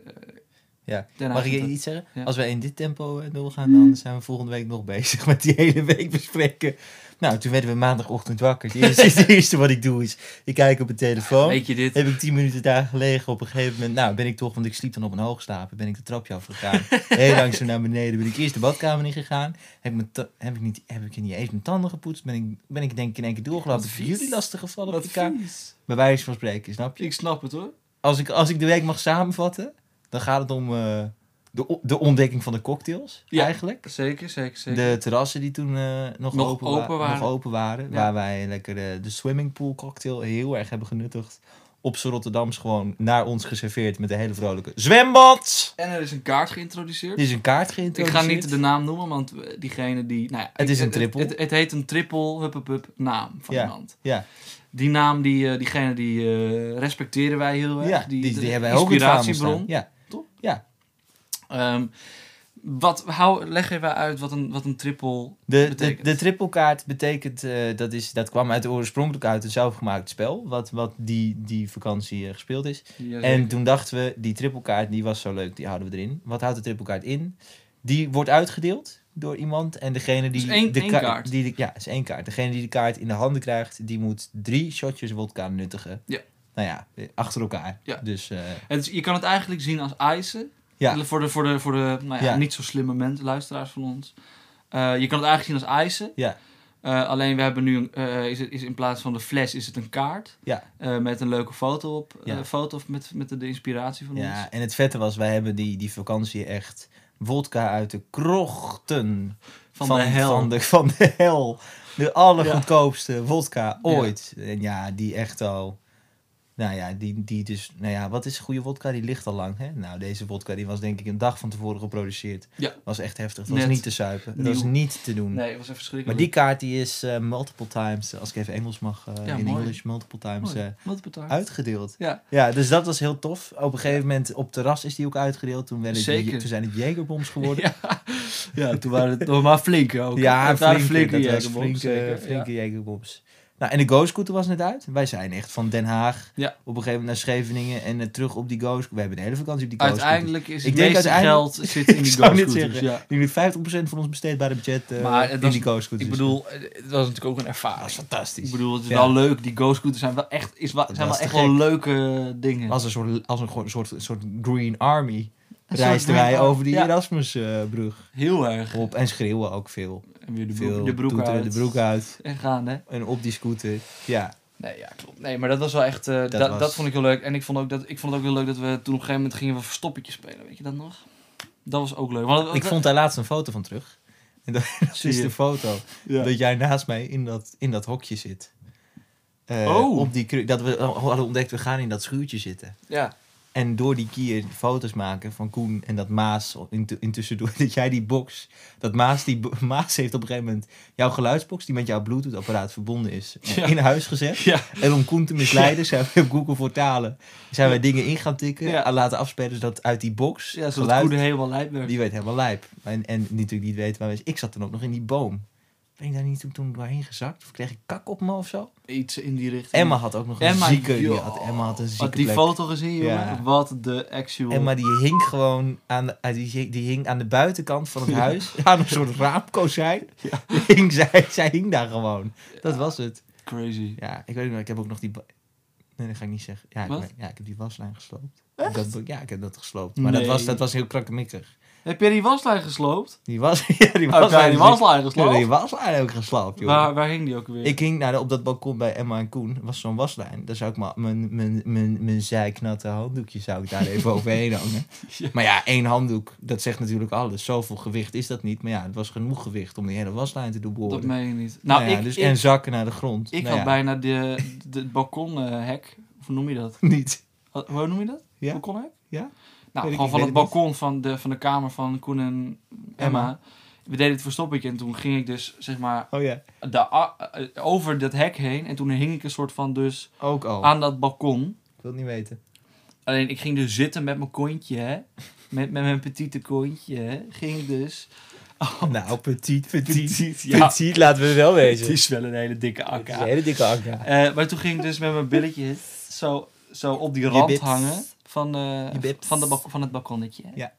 Speaker 3: Ja.
Speaker 2: Den Haag
Speaker 3: Mag ik je
Speaker 2: Centraal.
Speaker 3: iets zeggen?
Speaker 2: Ja.
Speaker 3: Als wij in dit tempo eh, doorgaan, dan zijn we volgende week nog bezig met die hele week bespreken. Nou, toen werden we maandagochtend wakker. Het eerste, het eerste wat ik doe is, ik kijk op mijn telefoon.
Speaker 2: Weet je dit?
Speaker 3: Heb ik tien minuten daar gelegen op een gegeven moment. Nou, ben ik toch, want ik sliep dan op een hoogstapen, ben ik de trapje afgegaan. Heel langzaam naar beneden ben ik eerst de badkamer ingegaan. Heb ik, mijn ta- heb ik, niet, heb ik niet eens mijn tanden gepoetst. Ben ik, ben ik denk ik in één keer doorgelopen.
Speaker 2: Wat
Speaker 3: Voor
Speaker 2: vies.
Speaker 3: jullie lastig gevallen op
Speaker 2: Wat
Speaker 3: de kamer.
Speaker 2: vies.
Speaker 3: Bij wijze van spreken, snap je?
Speaker 2: Ik snap het hoor.
Speaker 3: Als ik, als ik de week mag samenvatten, dan gaat het om eh, de, o- de ontdekking van de cocktails
Speaker 2: Ja.
Speaker 3: eigenlijk.
Speaker 2: Zeker, zeker, zeker.
Speaker 3: De terrassen die toen eh, nog,
Speaker 2: Nog
Speaker 3: open
Speaker 2: open
Speaker 3: wa-
Speaker 2: waren.
Speaker 3: nog open waren.
Speaker 2: Ja.
Speaker 3: Waar wij lekker eh, de swimmingpool cocktail heel erg hebben genuttigd. Op z'n Rotterdams gewoon naar ons geserveerd met een hele vrolijke zwembad.
Speaker 2: En er is een kaart geïntroduceerd.
Speaker 3: Er is een kaart
Speaker 2: Ik
Speaker 3: geïntroduceerd.
Speaker 2: ga niet de naam noemen, want we- diegene die. Nou ja,
Speaker 3: Het
Speaker 2: ik-
Speaker 3: is een triple.
Speaker 2: Het, het, heet een triple huppepup naam van iemand.
Speaker 3: Ja,
Speaker 2: Die naam, die, eh, diegene die eh, respecteren wij heel erg.
Speaker 3: ja die, die,
Speaker 2: de-
Speaker 3: hebben wij ook in het vaandel
Speaker 2: inspiratiebron.
Speaker 3: staan. Ja.
Speaker 2: Toch?
Speaker 3: Ja.
Speaker 2: Ehm, Wat, hou, leg even uit wat een, wat een triple
Speaker 3: De, de,
Speaker 2: betekent.
Speaker 3: de trippelkaart betekent, eh, dat, is, dat kwam uit oorspronkelijk uit een zelfgemaakt spel, wat, wat die, die vakantie eh, gespeeld is. En toen dachten we, die trippelkaart die was zo leuk, die houden we erin. Wat houdt de trippelkaart in? Die wordt uitgedeeld door iemand en degene die...
Speaker 2: Dus één-
Speaker 3: de
Speaker 2: één
Speaker 3: ka-
Speaker 2: kaart.
Speaker 3: Die de- ja, is één kaart. Degene die de kaart in de handen krijgt, die moet drie shotjes wodka nuttigen.
Speaker 2: Ja.
Speaker 3: Nou ja, eh, achter elkaar.
Speaker 2: Ja.
Speaker 3: Dus eh,
Speaker 2: Het is- je kan het eigenlijk zien als eisen.
Speaker 3: Ja.
Speaker 2: Voor de, voor de, voor de nou ja,
Speaker 3: Ja.
Speaker 2: niet zo slimme mensen, luisteraars van ons. Eh, je kan het eigenlijk zien als eisen.
Speaker 3: Ja.
Speaker 2: Eh, alleen we hebben nu, een- eh, is het, is in plaats van de fles, is het een kaart.
Speaker 3: Ja.
Speaker 2: Eh, met een leuke foto op.
Speaker 3: Ja.
Speaker 2: eh, foto of met, met de, de inspiratie van ons.
Speaker 3: ja, en het vette was, wij hebben die, die vakantie echt wodka uit de krochten
Speaker 2: Van, de hel.
Speaker 3: Van de, van de hel. De allergoedkoopste wodka ooit. En ja, die echt al... Nou ja, die, die dus... Nou ja, wat is goede wodka? Die ligt al lang, hè? Nou, deze wodka die was denk ik een dag van tevoren geproduceerd.
Speaker 2: Ja.
Speaker 3: Was echt heftig. Dat was
Speaker 2: Net
Speaker 3: niet te zuipen. Dat
Speaker 2: nieuw.
Speaker 3: was niet te doen.
Speaker 2: Nee, het was even
Speaker 3: Maar
Speaker 2: verschrikkelijk.
Speaker 3: die kaart die is eh, multiple times, als ik even Engels mag, eh,
Speaker 2: Ja,
Speaker 3: in
Speaker 2: mooi.
Speaker 3: English multiple times
Speaker 2: Mooi.
Speaker 3: eh,
Speaker 2: Wat betaald.
Speaker 3: uitgedeeld.
Speaker 2: Ja.
Speaker 3: ja, dus dat was heel tof. Op een gegeven moment op terras is die ook uitgedeeld. Toen, werden die,
Speaker 2: Zeker.
Speaker 3: toen zijn het Jägerbombs geworden.
Speaker 2: Ja. ja, toen waren het nog maar flinke ook.
Speaker 3: Ja,
Speaker 2: Het waren
Speaker 3: flinke, flinke, dat was
Speaker 2: Jagerbomb,
Speaker 3: flinke,
Speaker 2: zeker,
Speaker 3: flinke Jagerbomb. Nou, en de Go-scooter was net uit. Wij zijn echt van Den Haag
Speaker 2: Ja.
Speaker 3: op een gegeven moment naar Scheveningen en eh, terug op die Go-scooter. We hebben de hele vakantie op die
Speaker 2: ja.
Speaker 3: Go-scooter.
Speaker 2: Uiteindelijk is
Speaker 3: Ik
Speaker 2: het
Speaker 3: denk
Speaker 2: meeste
Speaker 3: uiteindelijk-
Speaker 2: geld zit in
Speaker 3: Ik
Speaker 2: die
Speaker 3: zou net
Speaker 2: go-scooters.
Speaker 3: zeggen.
Speaker 2: Ja.
Speaker 3: Nu 50% van ons besteedbare budget eh,
Speaker 2: Maar het
Speaker 3: in
Speaker 2: was-
Speaker 3: die Go-scooters.
Speaker 2: Ik bedoel, eh, het was natuurlijk ook een
Speaker 3: dat was
Speaker 2: ervaring. Ik
Speaker 3: fantastisch.
Speaker 2: bedoel, het is
Speaker 3: Ja.
Speaker 2: wel leuk. Die go-scooters zijn wel echt, is wel,
Speaker 3: Dat
Speaker 2: zijn wel
Speaker 3: was
Speaker 2: echt
Speaker 3: te gek.
Speaker 2: wel leuke eh, dingen.
Speaker 3: Als een soort, als een gewoon- soort, soort Green Army
Speaker 2: soort
Speaker 3: reisden
Speaker 2: Green
Speaker 3: wij
Speaker 2: Army.
Speaker 3: over die
Speaker 2: Ja.
Speaker 3: Erasmusbrug eh,
Speaker 2: Heel erg.
Speaker 3: op en schreeuwen ook veel.
Speaker 2: En weer de
Speaker 3: Veel
Speaker 2: broek, de broek
Speaker 3: toeteren
Speaker 2: uit.
Speaker 3: de broek uit
Speaker 2: En gaan, hè?
Speaker 3: en op die scooter. Ja,
Speaker 2: Nee, ja, klopt. Nee, maar dat was wel echt... eh, dat, dat,
Speaker 3: was-
Speaker 2: vond ik heel leuk. En ik vond, ook dat, ik vond het ook heel leuk dat we toen op een gegeven moment gingen we verstoppertje spelen. Weet je dat nog? Dat was ook leuk. Want,
Speaker 3: ik vond daar laatst een foto van terug. En dat dat
Speaker 2: Zie
Speaker 3: is
Speaker 2: je.
Speaker 3: de foto.
Speaker 2: Ja.
Speaker 3: dat jij naast mij in dat, in dat hokje zit. Eh,
Speaker 2: Oh.
Speaker 3: Op die kru- dat we al hadden ontdekt, we gaan in dat schuurtje zitten.
Speaker 2: Ja.
Speaker 3: En door die kier foto's maken van Koen en dat Maas in- intussen door dat jij die box, dat Maas, die bo- Maas heeft op een gegeven moment jouw geluidsbox die met jouw Bluetooth apparaat verbonden is eh,
Speaker 2: Ja.
Speaker 3: in huis gezet.
Speaker 2: Ja.
Speaker 3: En om Koen te misleiden zijn we op Google Vertalen zijn wij dingen in gaan tikken
Speaker 2: Ja.
Speaker 3: en laten afspelen zodat uit die box
Speaker 2: Ja, zodat
Speaker 3: geluid
Speaker 2: Koen er helemaal lijp werd.
Speaker 3: die weet helemaal lijp. En, en natuurlijk niet weet waar we Ik zat toen ook nog in die boom. Ben ik daar niet toen, toen doorheen gezakt? Of kreeg ik kak op me of zo?
Speaker 2: Iets in die richting.
Speaker 3: Emma had ook nog
Speaker 2: Emma,
Speaker 3: een zieke... Die
Speaker 2: joh.
Speaker 3: had, Emma had een zieke
Speaker 2: Had die
Speaker 3: plek.
Speaker 2: foto gezien, jongen?
Speaker 3: Ja.
Speaker 2: Wat de actual...
Speaker 3: Emma die hing gewoon aan de, ah, die, die hing aan de buitenkant van het huis. Aan een soort raamkozijn. Die Hing, zij, zij hing daar gewoon. Dat was het.
Speaker 2: Crazy.
Speaker 3: Ja, ik weet niet meer. Ik heb ook nog die... ba- Nee, dat ga ik niet zeggen. Ja, ik,
Speaker 2: Wat?
Speaker 3: ben- ja ik heb die waslijn gesloopt. Dat, ja, ik heb dat gesloopt. Maar
Speaker 2: Nee.
Speaker 3: dat, was, dat was heel krakkemikkig.
Speaker 2: Heb jij die waslijn gesloopt?
Speaker 3: Die was... Ja, die
Speaker 2: Heb jij Oh, die
Speaker 3: was
Speaker 2: waslijn gesloopt?
Speaker 3: Nee, waslijn ook geslaapt, joh.
Speaker 2: waar, waar hing die ook weer?
Speaker 3: Ik hing nou, op dat balkon bij Emma en Koen. was zo'n waslijn. Daar zou ik maar mijn, mijn, mijn, mijn zijknatte handdoekje zou ik daar even overheen hangen.
Speaker 2: Ja.
Speaker 3: Maar ja, één handdoek, dat zegt natuurlijk alles. Zoveel gewicht is dat niet. Maar ja, het was genoeg gewicht om die hele waslijn te doen
Speaker 2: dat
Speaker 3: behoren.
Speaker 2: meen je niet. Nou,
Speaker 3: ja,
Speaker 2: ik,
Speaker 3: dus,
Speaker 2: ik,
Speaker 3: En zakken naar de grond.
Speaker 2: ik
Speaker 3: Nou
Speaker 2: had
Speaker 3: ja,
Speaker 2: bijna de, de, het balkonhek. Hoe noem je dat?
Speaker 3: Niet.
Speaker 2: Wat- Hoe noem je dat?
Speaker 3: Ja.
Speaker 2: Balkonhek?
Speaker 3: Ja. Weet ik
Speaker 2: Nou,
Speaker 3: niet,
Speaker 2: gewoon
Speaker 3: weet
Speaker 2: van het
Speaker 3: ik niet.
Speaker 2: balkon van de, van de kamer van Koen en Emma.
Speaker 3: Emma.
Speaker 2: We deden het verstoppertje en toen ging ik dus, zeg maar,
Speaker 3: Oh ja,
Speaker 2: daar a- eh, over dat hek heen. En toen hing ik een soort van dus
Speaker 3: ook al.
Speaker 2: aan dat balkon.
Speaker 3: Ik wil het niet weten.
Speaker 2: Alleen ik ging dus zitten met mijn kontje, hè. Met, met mijn petite kontje, hè. Ging ik dus...
Speaker 3: Nou, petit, petit. Petit,
Speaker 2: ja.
Speaker 3: laten we wel wezen.
Speaker 2: is wel een hele dikke
Speaker 3: Het is een hele dikke akka.
Speaker 2: Eh, maar toen ging ik dus met mijn billetje zo, zo op die rand
Speaker 3: bits.
Speaker 2: hangen van, eh,
Speaker 3: Je bits.
Speaker 2: van, de bak- van het balkonnetje. hè.
Speaker 3: Ja.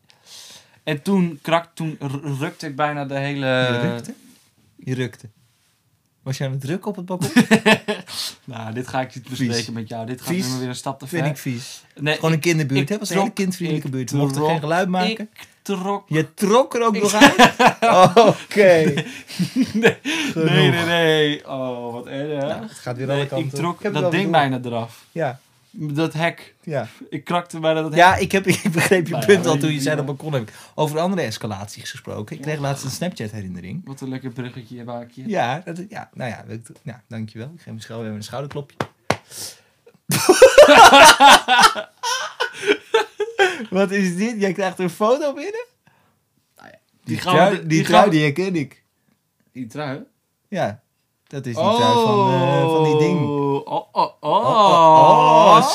Speaker 2: En toen, krak, toen ru- rukte ik bijna de hele...
Speaker 3: Je rukte? Je rukte. Was jij aan het drukken op het balkon?
Speaker 2: Nou, dit ga ik niet bespreken
Speaker 3: Vies.
Speaker 2: met jou. Dit gaat
Speaker 3: Vies.
Speaker 2: nu maar weer een stap te
Speaker 3: Vind
Speaker 2: ver.
Speaker 3: ik vies.
Speaker 2: nee,
Speaker 3: Gewoon een kinderbuurt,
Speaker 2: ik
Speaker 3: hè? was een hele
Speaker 2: trok-
Speaker 3: kindvriendelijke
Speaker 2: ik
Speaker 3: buurt. We mochten
Speaker 2: trok-
Speaker 3: geen geluid maken.
Speaker 2: ik trok...
Speaker 3: Je trok er ook nog uit? Oké.
Speaker 2: Nee,
Speaker 3: Genoeg.
Speaker 2: nee, nee, nee. Oh, wat erg.
Speaker 3: Nou, het gaat weer
Speaker 2: Nee,
Speaker 3: alle kanten
Speaker 2: ik
Speaker 3: op.
Speaker 2: trok
Speaker 3: Ik heb het
Speaker 2: dat
Speaker 3: wel
Speaker 2: ding
Speaker 3: door.
Speaker 2: bijna eraf.
Speaker 3: Ja,
Speaker 2: Dat hek.
Speaker 3: ja.
Speaker 2: Ik krakte bijna dat hek.
Speaker 3: ja ik, heb, ik begreep je
Speaker 2: Nou ja,
Speaker 3: punt al
Speaker 2: weet
Speaker 3: toen
Speaker 2: je
Speaker 3: je zei dat
Speaker 2: prima.
Speaker 3: balkon heb. ik. Over andere escalaties gesproken. Ik kreeg laatst een Snapchat-herinnering.
Speaker 2: Wat een lekker bruggetje, baakje.
Speaker 3: Ja, dat, ja, nou ja, dat, ja, dankjewel. Ik geef mijn schouder even een schouderklopje. Wat is dit? Jij krijgt een foto binnen?
Speaker 2: Nou Die
Speaker 3: Die
Speaker 2: gaan we
Speaker 3: trui,
Speaker 2: de-
Speaker 3: die,
Speaker 2: die
Speaker 3: trui
Speaker 2: gaan we-
Speaker 3: die herken ik.
Speaker 2: Die trui.
Speaker 3: Ja, dat is die trui van, eh, van die eh, ding.
Speaker 2: Oh, oh, oh.
Speaker 3: Oh, oh, oh.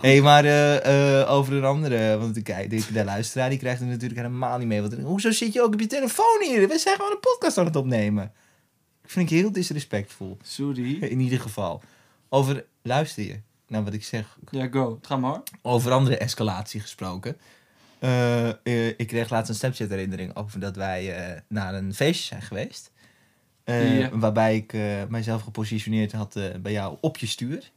Speaker 3: Hé, hey, maar eh, eh, over een andere, want kijk, de, de luisteraar die krijgt het natuurlijk helemaal niet mee. Want, eh, hoezo zit je ook op je telefoon hier? We zijn gewoon een podcast aan het opnemen. Ik vind ik heel disrespectvol.
Speaker 2: Sorry.
Speaker 3: In ieder geval. Over, luister je naar wat ik zeg.
Speaker 2: Ja, go. Ga maar.
Speaker 3: Over andere escalatie gesproken. Eh, eh, ik kreeg laatst een Snapchat herinnering over dat wij eh, naar een feestje zijn geweest. Eh,
Speaker 2: Ja.
Speaker 3: Waarbij ik eh, mijzelf gepositioneerd had eh, bij jou op je stuur.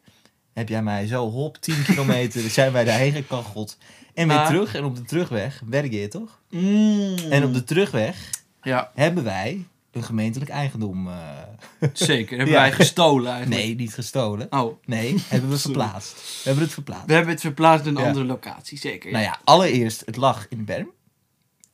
Speaker 3: Heb jij mij zo hop 10 kilometer zijn wij daarheen gekacheld. En weer
Speaker 2: Maar- Mm.
Speaker 3: terug. En op de terugweg, werk je toch? En op de terugweg
Speaker 2: Ja,
Speaker 3: hebben wij een gemeentelijk eigendom. eh,
Speaker 2: zeker. Hebben
Speaker 3: Ja.
Speaker 2: wij gestolen eigenlijk.
Speaker 3: nee, niet gestolen.
Speaker 2: Oh,
Speaker 3: Nee, hebben we
Speaker 2: Sorry.
Speaker 3: verplaatst. We hebben het verplaatst.
Speaker 2: we hebben het verplaatst naar een
Speaker 3: Ja.
Speaker 2: andere locatie, zeker.
Speaker 3: Nou ja, allereerst, het lag in Berm.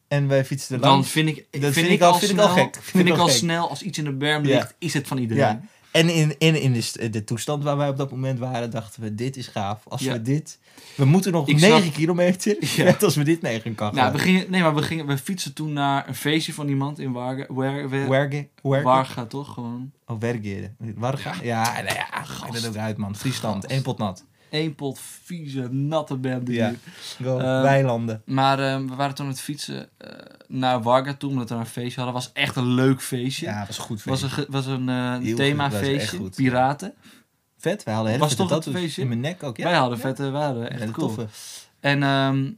Speaker 3: En wij fietsten er
Speaker 2: Dan
Speaker 3: langs.
Speaker 2: vind ik, vind
Speaker 3: vind
Speaker 2: ik
Speaker 3: ik al-
Speaker 2: al
Speaker 3: vind ik al
Speaker 2: snel,
Speaker 3: gek.
Speaker 2: vind
Speaker 3: Vind ik
Speaker 2: ik
Speaker 3: al
Speaker 2: al
Speaker 3: gek.
Speaker 2: snel, als iets in de berm
Speaker 3: Ja.
Speaker 2: ligt, is het van iedereen.
Speaker 3: Ja. En in, in, in de, st- de toestand waar wij op dat moment waren, dachten we, dit is gaaf. Als
Speaker 2: Ja.
Speaker 3: we dit... We moeten nog
Speaker 2: Ik
Speaker 3: 9
Speaker 2: snap-
Speaker 3: kilometer.
Speaker 2: Ja.
Speaker 3: Net als we dit 9 kan
Speaker 2: Nou, we, gingen, nee, maar we, gingen, we fietsen toen naar een feestje van iemand in Warga. Waar, waar,
Speaker 3: Werken. Werken.
Speaker 2: Warga, toch? Gewoon
Speaker 3: Oh, werken. Warga. Ja, nou ja. Ga dat ook uit, man. Friesland.
Speaker 2: Gast.
Speaker 3: één pot nat.
Speaker 2: één pot vieze, natte bende.
Speaker 3: Ja.
Speaker 2: hier.
Speaker 3: Go.
Speaker 2: Ehm,
Speaker 3: Weilanden.
Speaker 2: Maar ehm, we waren toen aan het fietsen eh, naar Warga toe, omdat we daar een feestje hadden. was echt een leuk feestje.
Speaker 3: Ja, was een goed
Speaker 2: was
Speaker 3: feest.
Speaker 2: een, ge- was een eh,
Speaker 3: goed, was echt
Speaker 2: themafeestje,
Speaker 3: goed.
Speaker 2: piraten.
Speaker 3: Vet. Wij hadden
Speaker 2: Was
Speaker 3: helemaal
Speaker 2: toch een feestje?
Speaker 3: in mijn nek ook. Ja,
Speaker 2: Wij hadden
Speaker 3: Ja.
Speaker 2: vette, wij hadden echt
Speaker 3: Hele
Speaker 2: cool.
Speaker 3: toffe.
Speaker 2: En ehm,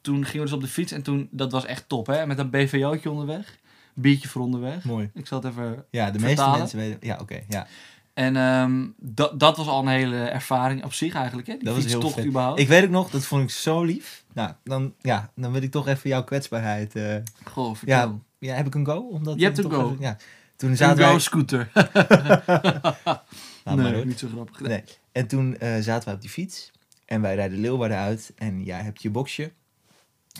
Speaker 2: toen gingen we dus op de fiets en toen, dat was echt top hè, met een BVO'tje onderweg. Biertje voor onderweg.
Speaker 3: Mooi.
Speaker 2: Ik zal het even
Speaker 3: Ja, de meeste
Speaker 2: Vertalen.
Speaker 3: mensen weten... Ja, oké. ja.
Speaker 2: En ehm, dat, dat was al een hele ervaring op zich eigenlijk, hè? Die
Speaker 3: Dat was heel
Speaker 2: fietstocht
Speaker 3: vet.
Speaker 2: überhaupt.
Speaker 3: Oh. Ik weet ook nog, dat vond ik zo lief. Nou, dan, ja, dan wil ik toch even jouw kwetsbaarheid. eh,
Speaker 2: Goh,
Speaker 3: ja,
Speaker 2: vertel.
Speaker 3: ja, heb ik een go? Omdat
Speaker 2: Je hebt
Speaker 3: dan
Speaker 2: een
Speaker 3: toch
Speaker 2: go.
Speaker 3: even- ja. Toen
Speaker 2: Een
Speaker 3: zaten wij...
Speaker 2: go-scooter.
Speaker 3: Laat maar
Speaker 2: nee,
Speaker 3: hoor.
Speaker 2: niet zo grappig.
Speaker 3: Nee. En toen eh, zaten wij op die fiets. En wij rijden Leeuwarden uit. En jij hebt je boxje.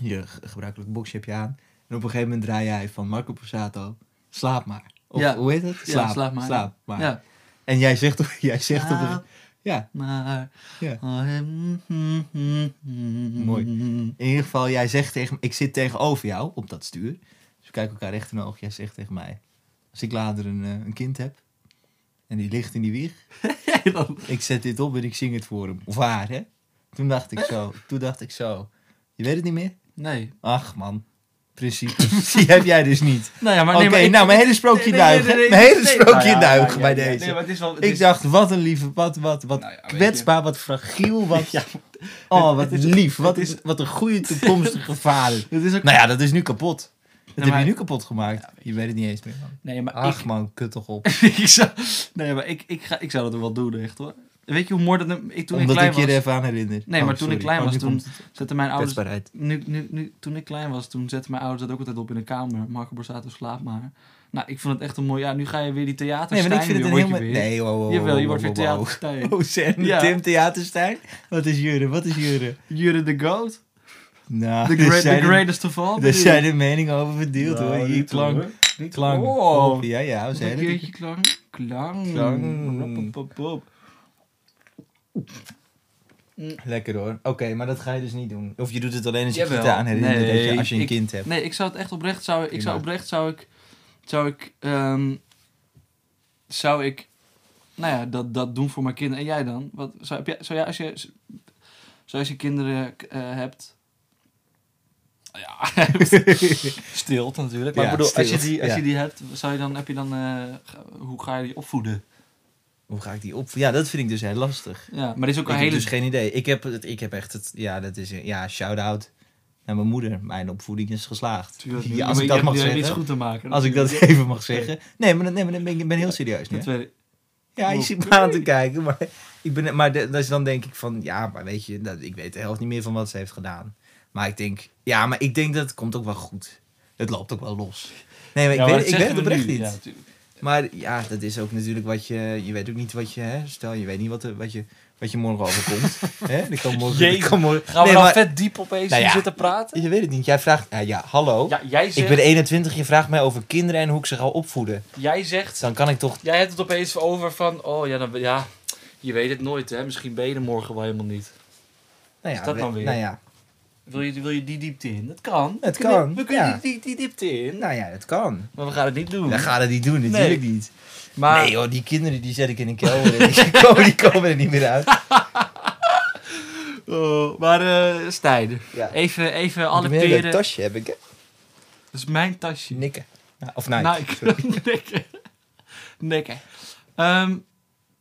Speaker 3: Je g- gebruikelijk boxje heb je aan. En op een gegeven moment draai jij van Marco Borsato. Slaap maar. Of
Speaker 2: Ja.
Speaker 3: hoe heet het?
Speaker 2: Ja, slaap maar. Ja,
Speaker 3: En jij zegt, op- jij zegt op een
Speaker 2: Slaap.
Speaker 3: Ja,
Speaker 2: maar... Oh,
Speaker 3: ja.
Speaker 2: Mooi.
Speaker 3: Mooi. In ieder geval, jij zegt tegen me, ik zit tegenover jou op dat stuur. Dus we kijken elkaar recht in de oog. Jij zegt tegen mij, als ik later een, eh, een kind heb en die ligt in die wieg, ik zet dit op en ik zing het voor hem. Of haar, hè? Toen dacht ik zo, toen dacht ik zo, je weet het niet meer?
Speaker 2: Nee.
Speaker 3: Ach man, principes, die heb jij dus niet.
Speaker 2: Nou ja, maar...
Speaker 3: Oké,
Speaker 2: nee, maar ik-
Speaker 3: nou, mijn hele sprookje
Speaker 2: Nee, nee, nee, nee,
Speaker 3: duigen.
Speaker 2: nee,
Speaker 3: Mijn hele
Speaker 2: nee.
Speaker 3: sprookje
Speaker 2: Nou ja,
Speaker 3: duigen
Speaker 2: ja,
Speaker 3: bij
Speaker 2: ja, ja.
Speaker 3: deze.
Speaker 2: Nee, maar het is wel... het
Speaker 3: Ik
Speaker 2: is-
Speaker 3: dacht, wat een lieve, wat, wat, wat
Speaker 2: Nou ja, weet je.
Speaker 3: kwetsbaar, wat fragiel, wat... Oh, wat
Speaker 2: het is-
Speaker 3: lief, wat,
Speaker 2: het is-
Speaker 3: wat een goede toekomstige vader.
Speaker 2: Het is ook...
Speaker 3: Nou ja, dat is nu kapot. Dat
Speaker 2: Nee,
Speaker 3: heb
Speaker 2: maar-
Speaker 3: je nu kapot gemaakt. je weet het niet eens meer, man.
Speaker 2: Nee, maar
Speaker 3: Ach
Speaker 2: ik...
Speaker 3: man, kut toch op.
Speaker 2: ik zou... Nee, maar ik, ik, ga, ik zou dat wel doen, echt hoor. Weet je hoe mooi dat... Ik, toen ik
Speaker 3: Omdat
Speaker 2: klein
Speaker 3: ik je er
Speaker 2: was...
Speaker 3: even aan Oh, herinner.
Speaker 2: Nee, maar toen ik klein was, toen zetten mijn ouders
Speaker 3: Kwetsbaarheid.
Speaker 2: Nu, nu, nu, toen ik klein was, toen zetten mijn ouders dat ook altijd op in de kamer. Marco Borsato slaap maar. Nou, ik vond het echt een mooi... Ja, nu ga je weer die theater
Speaker 3: Nee, maar ik vind het een heel...
Speaker 2: Weer.
Speaker 3: Nee, wow, wow,
Speaker 2: Jawel, je
Speaker 3: wow,
Speaker 2: wordt weer
Speaker 3: wow, wow.
Speaker 2: theaterstijl.
Speaker 3: Oh, Sam,
Speaker 2: Ja.
Speaker 3: Tim Theaterstein? Wat is Jure, wat is Jure?
Speaker 2: You're the goat.
Speaker 3: Nou,
Speaker 2: The,
Speaker 3: daar
Speaker 2: great, the
Speaker 3: zijn de-
Speaker 2: greatest of all.
Speaker 3: daar zijn de meningen over verdeeld, hoor. Hier klank,
Speaker 2: Niet
Speaker 3: klank.
Speaker 2: Oh,
Speaker 3: Ja, ja, we
Speaker 2: Nog
Speaker 3: zijn
Speaker 2: een
Speaker 3: het.
Speaker 2: keertje klank. Klank.
Speaker 3: Klank.
Speaker 2: Roppapapap.
Speaker 3: Lekker hoor. Oké, maar dat ga je dus niet doen. Of je doet het alleen als je
Speaker 2: Jawel.
Speaker 3: het aan herinnert dat je-
Speaker 2: Nee,
Speaker 3: als je een
Speaker 2: ik-
Speaker 3: kind hebt.
Speaker 2: Nee, ik zou het echt oprecht... Zou, ik
Speaker 3: Prima.
Speaker 2: zou oprecht... Zou ik... Zou ik... ehm, zou ik... Nou ja, dat, dat doen voor mijn kinderen. En jij dan? Wat, zou, heb jij, zou jij als je... Zou als je kinderen eh, hebt... Ja, stilt natuurlijk. Maar
Speaker 3: Ja,
Speaker 2: ik bedoel, als, je
Speaker 3: stilt,
Speaker 2: die, als
Speaker 3: ja.
Speaker 2: je die hebt, zou je dan, heb je dan, eh, ga- hoe ga je die opvoeden?
Speaker 3: Hoe ga ik die op? Ja, dat vind ik dus heel lastig.
Speaker 2: Ja, maar er is ook
Speaker 3: Ik
Speaker 2: een
Speaker 3: heb
Speaker 2: hele...
Speaker 3: dus geen idee. Ik heb, het, ik heb echt het... Ja, dat is... Ja, shout-out naar mijn moeder. Mijn opvoeding is geslaagd.
Speaker 2: Tuurlijk,
Speaker 3: Ja,
Speaker 2: maar
Speaker 3: als ik
Speaker 2: je
Speaker 3: dat
Speaker 2: hebt-
Speaker 3: mag
Speaker 2: je hebt iets
Speaker 3: zeggen.
Speaker 2: goed te maken. dus
Speaker 3: Als ik dat
Speaker 2: natuurlijk.
Speaker 3: even mag zeggen. Nee, maar, dat- nee, maar dan ben ik ik ben heel serieus nu.
Speaker 2: Dat
Speaker 3: hè.
Speaker 2: weet ik.
Speaker 3: Ja, je zit me aan te kijken. Maar, ik ben, maar de- dat is dan denk ik van... Ja, maar weet je... Dat, ik weet de helft niet meer van wat ze heeft gedaan. Maar ik denk... Ja, maar ik denk dat het komt ook wel goed. Het loopt ook wel los. Nee, maar ik
Speaker 2: Ja, maar
Speaker 3: weet,
Speaker 2: dat
Speaker 3: ik weet
Speaker 2: zeggen
Speaker 3: het
Speaker 2: we
Speaker 3: oprecht
Speaker 2: nu.
Speaker 3: niet.
Speaker 2: Ja, natuurlijk.
Speaker 3: Maar ja, dat is ook natuurlijk wat je... Je weet ook niet wat je... Hè, stel, je weet niet wat, er- wat, je, wat je morgen overkomt. hè? Er kan morgen... er
Speaker 2: Jezus,
Speaker 3: kan morgen
Speaker 2: Gaan we
Speaker 3: nee,
Speaker 2: dan
Speaker 3: maar-
Speaker 2: vet diep opeens
Speaker 3: Nou ja.
Speaker 2: hier zitten praten?
Speaker 3: Je weet het niet. Jij vraagt... nou Ja, ja hallo.
Speaker 2: Ja, jij
Speaker 3: ik
Speaker 2: zegt,
Speaker 3: ben 21. Je vraagt mij over kinderen en hoe ik ze ga opvoeden. Dus
Speaker 2: jij zegt,
Speaker 3: Dan kan ik toch...
Speaker 2: jij hebt het opeens over van, oh ja, dan, ja, je weet het nooit hè, misschien ben je er morgen wel helemaal niet.
Speaker 3: Nou ja,
Speaker 2: Is dat
Speaker 3: we-
Speaker 2: dan weer?
Speaker 3: Nou ja,
Speaker 2: Wil je, wil je die diepte in? Dat kan.
Speaker 3: Het kan,
Speaker 2: We kunnen
Speaker 3: ja.
Speaker 2: die, die, die diepte in,
Speaker 3: nou ja, dat kan.
Speaker 2: maar we gaan het niet doen.
Speaker 3: We gaan het niet doen, natuurlijk niet.
Speaker 2: maar,
Speaker 3: Nee joh, die kinderen die zet ik in een kelder. en die, komen, die komen er niet meer uit.
Speaker 2: Oh, maar eh Stijn,
Speaker 4: Ja.
Speaker 2: even, even
Speaker 4: Alle
Speaker 2: alle
Speaker 4: een hele
Speaker 2: peren. Dat
Speaker 4: tasje heb ik, hè?
Speaker 2: is mijn tasje.
Speaker 4: Nikken.
Speaker 3: Ja, Of Nike.
Speaker 2: Nou, ik Nikken. Nikken. Ehm,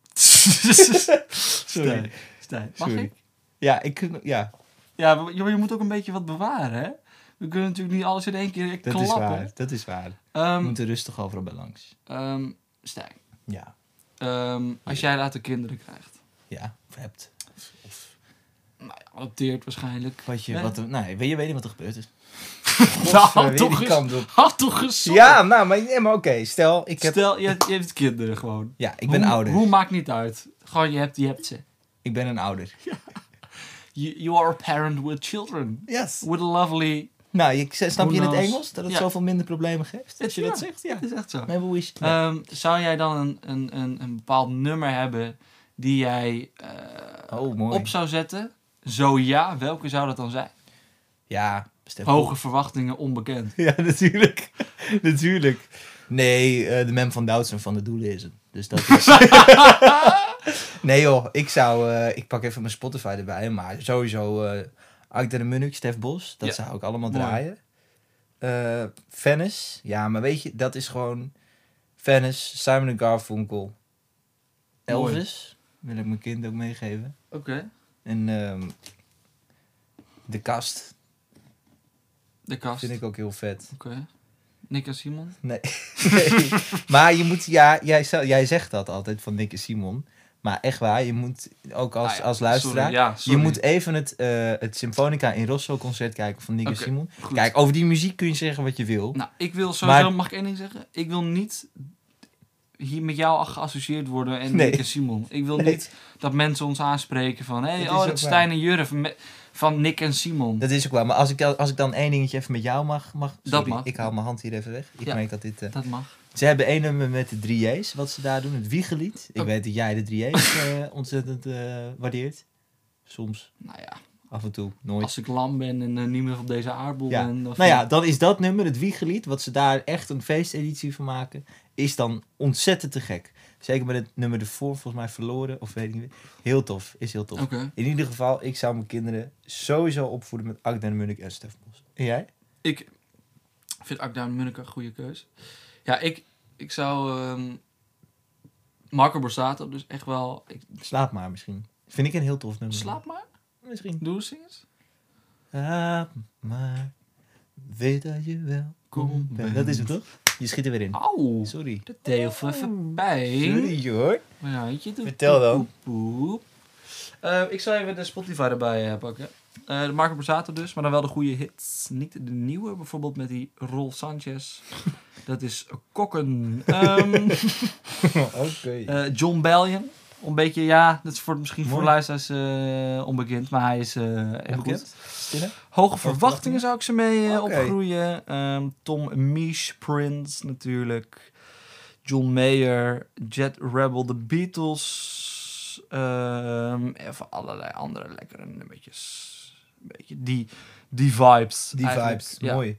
Speaker 2: Stijn, Stijn, mag
Speaker 3: Sorry.
Speaker 2: ik?
Speaker 3: Ja, ik, ja,
Speaker 2: Ja, maar je, je moet ook een beetje wat bewaren, hè? We kunnen natuurlijk niet alles in één keer
Speaker 3: dat is
Speaker 2: klappen.
Speaker 3: waar. Dat is waar. We
Speaker 2: Ehm
Speaker 3: moeten rustig overal bij langs.
Speaker 2: ehm, Stijn,
Speaker 3: Ja.
Speaker 2: ehm, als jij later kinderen krijgt,
Speaker 3: Ja. Of hebt.
Speaker 2: nou, ja, adopteert waarschijnlijk.
Speaker 3: Wat je,
Speaker 2: Nee.
Speaker 3: wat, er- nou, je weet niet wat er gebeurd is.
Speaker 2: Nou,
Speaker 3: Godver, weer
Speaker 2: toch
Speaker 3: die
Speaker 2: eens-
Speaker 3: kant op.
Speaker 2: Had toch gezond?
Speaker 3: Ja, nou, maar, nee, maar oké. stel, ik heb...
Speaker 2: Stel, je, je hebt kinderen gewoon.
Speaker 3: Ja, ik ben
Speaker 2: hoe,
Speaker 3: ouder.
Speaker 2: Hoe maakt niet uit. Gewoon, je hebt, je hebt ze.
Speaker 3: Ik ben een ouder.
Speaker 2: You, you are a parent with children.
Speaker 3: Yes.
Speaker 2: With a lovely...
Speaker 3: Nou, je, snap
Speaker 2: Who
Speaker 3: je in het
Speaker 2: knows?
Speaker 3: Engels dat het
Speaker 2: Ja.
Speaker 3: zoveel minder problemen geeft? Als je dat zegt, ja.
Speaker 2: Het is echt zo.
Speaker 3: Maybe we should...
Speaker 2: Ehm, zou jij dan een, een, een, een bepaald nummer hebben die jij eh,
Speaker 3: Oh, mooi.
Speaker 2: op zou zetten? Zo ja, welke zou dat dan zijn?
Speaker 3: ja, Stef
Speaker 2: Hoge verwachtingen, onbekend.
Speaker 3: Ja, natuurlijk. natuurlijk. Nee, eh, de mem van Doutzen van de Doelen is het. Dus dat is... nee joh, ik zou... eh, ik pak even mijn Spotify erbij. Maar sowieso... eh Akda de Munnik, Stef Bos. Dat
Speaker 2: Ja.
Speaker 3: zou ik allemaal
Speaker 2: Mooi.
Speaker 3: draaien. Eh Venice. Ja, maar weet je, dat is gewoon... Venice, Simon en Garfunkel.
Speaker 2: Mooi.
Speaker 3: Elvis. Wil ik mijn kind ook meegeven.
Speaker 2: Oké.
Speaker 3: En... ehm, de kast.
Speaker 2: De kast.
Speaker 3: Vind ik ook heel vet.
Speaker 2: Oké. Nick en Simon.
Speaker 3: Nee. Nee. Maar je moet, ja, jij, zou- jij zegt dat altijd van Nick en Simon. Maar echt waar, je moet ook als,
Speaker 2: Ah ja,
Speaker 3: als luisteraar.
Speaker 2: sorry, ja,
Speaker 3: je
Speaker 2: sorry.
Speaker 3: moet even het, eh, het Symfonica in Rosso concert kijken van Nick
Speaker 2: Oké,
Speaker 3: en Simon.
Speaker 2: goed.
Speaker 3: Kijk, over die muziek kun je zeggen wat je wil.
Speaker 2: Nou, ik wil sowieso,
Speaker 3: Maar-
Speaker 2: mag ik één ding zeggen? Ik wil niet hier met jou al geassocieerd worden en
Speaker 3: Nee.
Speaker 2: Nick en Simon. Ik wil
Speaker 3: Nee.
Speaker 2: niet dat mensen ons aanspreken van, hé,
Speaker 3: Dat
Speaker 2: hey,
Speaker 3: is
Speaker 2: oh,
Speaker 3: ook
Speaker 2: dat is
Speaker 3: waar.
Speaker 2: Stijn en Jurre van, me- van Nick en Simon.
Speaker 3: Dat is ook waar. Maar als ik, als ik dan één dingetje even met jou mag. mag
Speaker 2: Dat
Speaker 3: sorry,
Speaker 2: mag.
Speaker 3: Ik haal mijn hand hier even weg. Ik
Speaker 2: Ja.
Speaker 3: merk dat dit. eh,
Speaker 2: Dat mag.
Speaker 3: ze hebben één nummer met de drie J's, wat ze daar doen. Het wiegelied. Ik
Speaker 2: Oh.
Speaker 3: weet dat jij de drie J's eh, ontzettend eh, waardeert. Soms,
Speaker 2: Nou ja,
Speaker 3: af en toe, nooit.
Speaker 2: als ik lam ben en eh, niet meer op deze aardbol
Speaker 3: Ja.
Speaker 2: ben... dan
Speaker 3: Nou ja,
Speaker 2: vind
Speaker 3: dan is dat nummer, het wiegelied, wat ze daar echt een feesteditie van maken, is dan ontzettend te gek. Zeker met het nummer ervoor, volgens mij verloren, of weet ik niet. Heel tof, is heel tof.
Speaker 2: ik- Oké.
Speaker 3: In ieder geval, ik zou mijn kinderen sowieso opvoeden met Agda de Munnik en Stef Bos. En jij?
Speaker 2: Ik vind Akda en Munnik een goede keus. Ja, ik, ik zou ehm, Marco Borsato dus echt wel... Ik,
Speaker 4: Mm.
Speaker 3: Slaap maar misschien. Vind ik een heel tof nummer.
Speaker 2: slaap maar,
Speaker 3: Misschien.
Speaker 2: doe eens eens.
Speaker 3: Slaap maar, weet dat je wel
Speaker 2: Kom Ah.
Speaker 3: kom
Speaker 2: bent.
Speaker 3: bent. Dat is hem toch? Je schiet er weer in.
Speaker 2: Auw,
Speaker 3: Sorry.
Speaker 2: dat deed heel veel even pijn.
Speaker 3: Sorry hoor.
Speaker 2: Maar ja, weet je, doet
Speaker 4: Vertel dan.
Speaker 2: poep, poep. Eh, ik zal even de Spotify erbij eh, pakken. Eh, de Marco Borsato dus, maar dan wel de goede hits. Niet de nieuwe, bijvoorbeeld met die Rolf Sanchez. Dat is kokken. Ehm,
Speaker 4: Oké.
Speaker 2: eh, John Bellion. Een beetje, ja, dat is voor, misschien voor
Speaker 3: Mooi.
Speaker 2: luisteraars eh, onbekend, maar hij is eh, echt goed.
Speaker 3: Onbekend? Stille?
Speaker 2: Hoge verwachtingen zou ik ze mee eh,
Speaker 3: Oké.
Speaker 2: opgroeien. Ehm, Tom Misch, Prince natuurlijk. John Mayer, Jet Rebel, The Beatles. Ehm, even allerlei andere lekkere nummertjes. Een beetje die, die vibes.
Speaker 3: Die
Speaker 2: eigenlijk.
Speaker 3: vibes,
Speaker 2: Ja.
Speaker 3: mooi.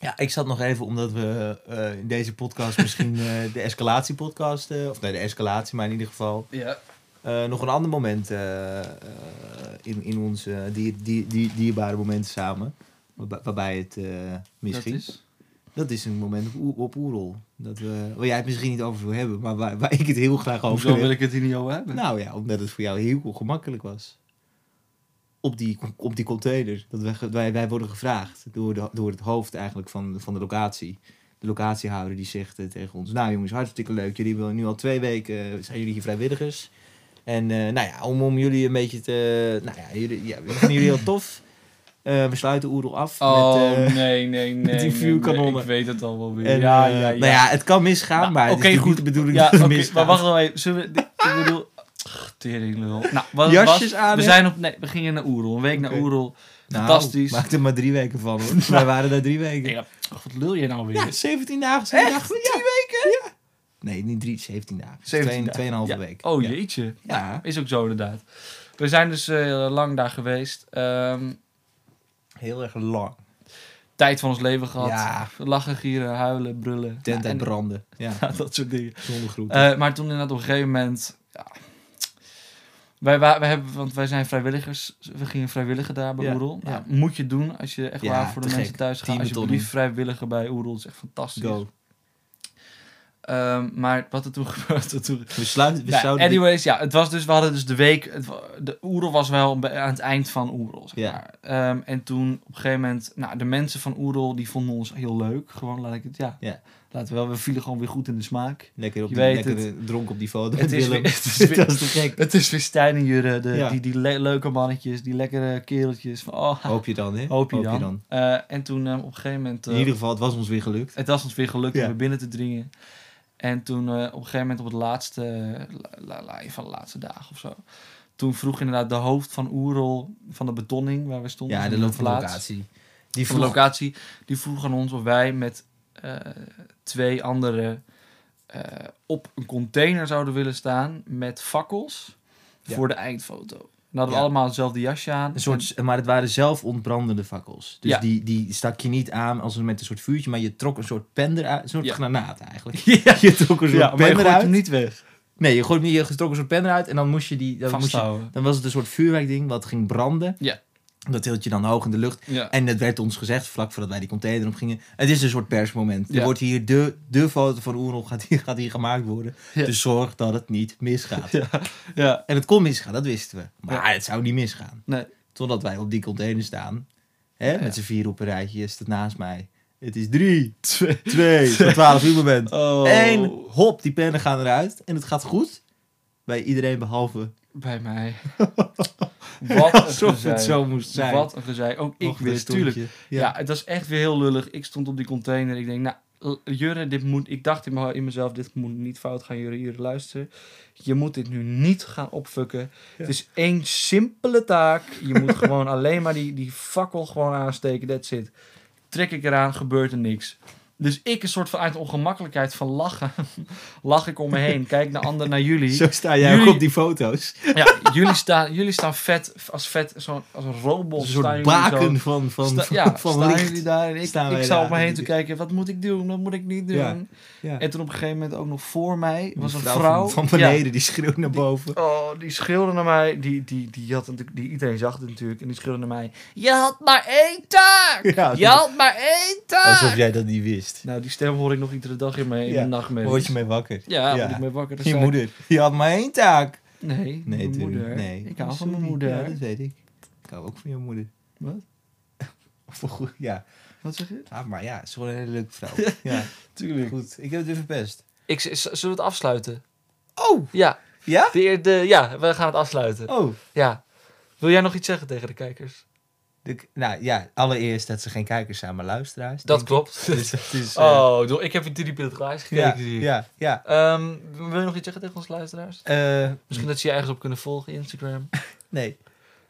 Speaker 3: Ja, ik zat nog even, omdat we eh, in deze podcast misschien eh, de escalatie-podcast, eh, of nee, de escalatie, maar in ieder geval,
Speaker 2: Ja.
Speaker 3: eh, nog een ander moment eh, eh, in, in onze dier, dier, dier- dierbare momenten samen, waarba- waarbij het eh misschien...
Speaker 2: Dat is...
Speaker 3: dat is een moment op, Oer- op Oerol, dat we, waar jij het misschien niet over wil hebben, maar waar, waar ik het heel graag over
Speaker 2: Hoezo
Speaker 3: wil
Speaker 2: wil ik het hier niet over hebben?
Speaker 3: Nou ja, omdat het voor jou heel gemakkelijk was. Op die, op die container. Dat wij, wij, wij worden gevraagd door, de, door het hoofd eigenlijk van, van de locatie. De locatiehouder die zegt eh, tegen ons... Nou jongens, hartstikke leuk. Jullie hebben nu al twee weken... eh, zijn jullie hier vrijwilligers. En eh, nou ja, om, om jullie een beetje te... Nou ja, jullie, ja we vinden jullie heel tof. Eh, we sluiten Oerol af met... eh,
Speaker 2: Oh, nee, nee, nee.
Speaker 3: die vuurkanonnen.
Speaker 2: Ik weet het al wel weer.
Speaker 3: en,
Speaker 2: ja,
Speaker 3: eh,
Speaker 2: ja, ja.
Speaker 3: Nou ja, het kan misgaan,
Speaker 2: Nou,
Speaker 3: maar het
Speaker 2: oké,
Speaker 3: is
Speaker 2: goed.
Speaker 3: goed. de bedoeling
Speaker 2: Ja,
Speaker 3: dat het
Speaker 2: oké, maar
Speaker 3: misgaat.
Speaker 2: wacht nog even. Zullen we, ik bedoel... Ach, teringlul. Nou, wat het was,
Speaker 3: Jasjes aan,
Speaker 2: we
Speaker 3: hè?
Speaker 2: zijn op, nee, we gingen naar Oerol, een week naar
Speaker 3: Oké.
Speaker 2: Oerol.
Speaker 3: Nou,
Speaker 2: Fantastisch.
Speaker 3: maak er maar drie weken van hoor. Wij waren daar drie weken.
Speaker 2: Ja, ach, wat lul je nou weer?
Speaker 3: Ja, 17 dagen. 17 dagen. Drie weken? Nee, niet drie, 17 dagen. 17
Speaker 2: dagen.
Speaker 3: Tweeënhalve
Speaker 2: Ja.
Speaker 3: week.
Speaker 2: Oh
Speaker 3: ja.
Speaker 2: jeetje.
Speaker 3: Ja.
Speaker 2: Is ook zo inderdaad. We zijn dus eh, lang daar geweest. Ehm,
Speaker 3: Heel erg lang.
Speaker 2: tijd van ons leven gehad.
Speaker 3: Ja.
Speaker 2: Lachen, gieren, huilen, brullen.
Speaker 3: Tent
Speaker 2: Ja,
Speaker 3: en
Speaker 2: en-
Speaker 3: branden. Ja,
Speaker 2: dat soort dingen.
Speaker 3: zonder groeten.
Speaker 2: Eh, maar toen inderdaad op een gegeven moment... Ja, Wij, wa- wij hebben, want wij zijn vrijwilligers. We gingen vrijwilligen daar bij
Speaker 3: Ja,
Speaker 2: Oerol.
Speaker 3: ja.
Speaker 2: Nou, moet je doen als je echt
Speaker 3: Ja,
Speaker 2: waar voor de
Speaker 3: te
Speaker 2: mensen
Speaker 3: gek.
Speaker 2: thuis gaat.
Speaker 3: Team
Speaker 2: Alsjeblieft
Speaker 3: Donnie.
Speaker 2: vrijwilligen bij Oerol. Het is echt fantastisch.
Speaker 3: Go.
Speaker 2: Ehm, maar wat er toen gebeurde... Toen,
Speaker 3: We sluiten. We
Speaker 2: Nou,
Speaker 3: zouden die-
Speaker 2: anyways, ja, het was dus, we hadden dus de week, het, wa- de Oerol was wel bij- aan het eind van Oerol, zeg
Speaker 3: Ja.
Speaker 2: maar. Ehm, en toen op een gegeven moment, nou, de mensen van Oerol, die vonden ons heel leuk. Gewoon, laat ik het, ja,
Speaker 3: Ja.
Speaker 2: laten we wel, we vielen gewoon weer goed in de smaak.
Speaker 3: lekker op
Speaker 2: je
Speaker 3: die,
Speaker 2: weet
Speaker 3: lekker eh, dronken op die foto.
Speaker 2: Het
Speaker 3: met
Speaker 2: is
Speaker 3: Willem.
Speaker 2: weer- het is weer-
Speaker 3: dat is te gek.
Speaker 2: Het is weer Stijn en Jurre, de,
Speaker 3: Ja.
Speaker 2: die, die le- leuke mannetjes, die lekkere kereltjes. Van, oh,
Speaker 3: Hoop je dan, hè?
Speaker 2: hoop je dan. Eh, en toen eh, op een gegeven moment... eh,
Speaker 3: In ieder geval, het was ons weer gelukt.
Speaker 2: Het was ons weer gelukt
Speaker 3: Ja.
Speaker 2: om weer binnen te dringen. En toen eh, op een gegeven moment op het laatste, la, la- la- een van de laatste dagen of zo. Toen vroeg inderdaad de hoofd van Oerol, van de betonning waar we stonden.
Speaker 3: Ja,
Speaker 2: van
Speaker 3: de
Speaker 2: die
Speaker 3: loop van de
Speaker 2: plaats,
Speaker 3: locatie. Die
Speaker 2: Van de
Speaker 3: vroeg-
Speaker 2: locatie. Die vroeg aan ons of wij met eh, twee anderen eh, op een container zouden willen staan met fakkels
Speaker 3: Ja.
Speaker 2: voor de eindfoto. En dan hadden
Speaker 3: Ja.
Speaker 2: we allemaal hetzelfde jasje aan.
Speaker 3: Een soort, maar het waren zelf ontbrandende fakkels. Dus
Speaker 2: Ja.
Speaker 3: die, die stak je niet aan als een, met een soort vuurtje, maar je trok een soort pen eruit. Een soort
Speaker 2: Ja.
Speaker 3: granaat eigenlijk.
Speaker 2: En- ja,
Speaker 3: Je trok een soort
Speaker 2: ja, maar je
Speaker 3: pen
Speaker 2: gooit
Speaker 3: eruit.
Speaker 2: hem niet weg.
Speaker 3: Nee, je, gooit, hem- je trok een soort pen eruit en dan moest je die. Dan, moest je,
Speaker 2: Vasthouden.
Speaker 3: dan was het een soort vuurwerkding wat ging branden.
Speaker 2: Ja.
Speaker 3: Dat hield je dan hoog in de lucht.
Speaker 2: Ja.
Speaker 3: En het werd ons gezegd, vlak voordat wij die container op gingen. Het is een soort persmoment.
Speaker 2: Ja.
Speaker 3: Er wordt hier de, de foto van Oerol gaat hier, gaat hier gemaakt worden.
Speaker 2: Ja.
Speaker 3: Dus zorg dat het niet misgaat.
Speaker 2: ja.
Speaker 3: En het kon misgaan, dat wisten we. Maar het zou niet misgaan.
Speaker 2: Nee.
Speaker 3: Totdat wij op die container staan. Hè,
Speaker 2: Ja.
Speaker 3: Met z'n vier op een rijtje. Je staat naast mij. Het is drie, twee, tot twaalf uur moment.
Speaker 2: Oh.
Speaker 3: Eén, hop, die pennen gaan eruit. En het gaat goed. Bij iedereen behalve
Speaker 2: Bij mij. Wat een
Speaker 3: alsof
Speaker 2: gezeik.
Speaker 3: het zo moest zijn.
Speaker 2: Wat een gezeik. Ook ik
Speaker 3: Nog een
Speaker 2: weer,
Speaker 3: stoeltje.
Speaker 2: tuurlijk. Ja. het was echt weer heel lullig. Ik stond op die container. Ik denk, nou, l- Jurre, dit moet... Ik dacht in, me- in mezelf, dit moet niet fout gaan, Jurre. Jurre, luisteren. Je moet dit nu niet gaan opfukken. Het is één simpele taak. Je moet gewoon alleen maar die, die fakkel gewoon aansteken. That's it. Trek ik eraan, gebeurt er niks. Dus ik, een soort van uit ongemakkelijkheid van lachen, lach ik om me heen. Kijk naar anderen, naar jullie.
Speaker 3: Zo sta jij ook
Speaker 2: Jullie-
Speaker 3: op die foto's.
Speaker 2: Ja, jullie staan, jullie staan vet, als vet, zo, als een robot.
Speaker 3: Een
Speaker 2: staan
Speaker 3: soort
Speaker 2: jullie
Speaker 3: baken
Speaker 2: zo.
Speaker 3: van, van,
Speaker 2: Sta-
Speaker 3: van,
Speaker 2: ja,
Speaker 3: van
Speaker 2: staan
Speaker 3: licht.
Speaker 2: jullie daar en ik,
Speaker 3: Staan
Speaker 2: ik
Speaker 3: Ah, wij
Speaker 2: zou
Speaker 3: daar.
Speaker 2: om me heen te kijken, wat moet ik doen, wat moet ik niet doen.
Speaker 3: Ja, ja.
Speaker 2: En toen op een gegeven moment ook nog voor mij was een
Speaker 3: Die vrouw
Speaker 2: vrouw.
Speaker 3: Van, van
Speaker 2: ja.
Speaker 3: beneden, die schreeuwt naar boven.
Speaker 2: oh, die schreeuwde naar mij, die, die, die had natuurlijk, die, iedereen zag het natuurlijk, en die schreeuwde naar mij, je had maar één taak,
Speaker 3: Ja,
Speaker 2: je had maar één taak.
Speaker 3: Alsof jij dat niet wist.
Speaker 2: Nou, die stem hoor ik nog iedere dag in mijn, in
Speaker 3: Ja,
Speaker 2: mijn nachtmerries.
Speaker 3: Word je mee wakker?
Speaker 2: Ja,
Speaker 3: Ja.
Speaker 2: word ik mee wakker. dan
Speaker 3: Je
Speaker 2: zei ik,
Speaker 3: moeder. Je had maar één taak.
Speaker 2: Nee,
Speaker 3: Nee,
Speaker 2: mijn
Speaker 3: tuurlijk.
Speaker 2: moeder.
Speaker 3: Nee.
Speaker 2: Ik hou
Speaker 3: Oh,
Speaker 2: van mijn
Speaker 3: sorry.
Speaker 2: moeder.
Speaker 3: Ja, dat weet ik. Ik hou ook van je moeder.
Speaker 2: Wat?
Speaker 3: Voor goed, ja.
Speaker 2: Wat zeg je?
Speaker 3: Ah, maar ja, ze is gewoon een hele leuke vrouw. ja,
Speaker 2: Tuurlijk.
Speaker 3: goed. Ik heb het weer verpest.
Speaker 4: Ik, z- z- zullen we het afsluiten?
Speaker 3: Oh!
Speaker 4: Ja,
Speaker 3: Ja?
Speaker 4: de, eer- de, ja, we gaan het afsluiten.
Speaker 3: Oh!
Speaker 4: Ja. Wil jij nog iets zeggen tegen de kijkers?
Speaker 3: De- nou ja, allereerst dat ze geen kijkers zijn, maar luisteraars.
Speaker 4: Dat
Speaker 3: denk
Speaker 4: klopt.
Speaker 3: ik. Dus dat is... eh,
Speaker 4: Oh, doe- ik heb in drie het glaasje
Speaker 3: ja,
Speaker 4: gekeken, zie ik.
Speaker 3: ja, ja.
Speaker 4: Ehm, wil je nog iets zeggen tegen onze luisteraars?
Speaker 3: Eh,
Speaker 4: Misschien dat ze je ergens op kunnen volgen, Instagram.
Speaker 3: nee.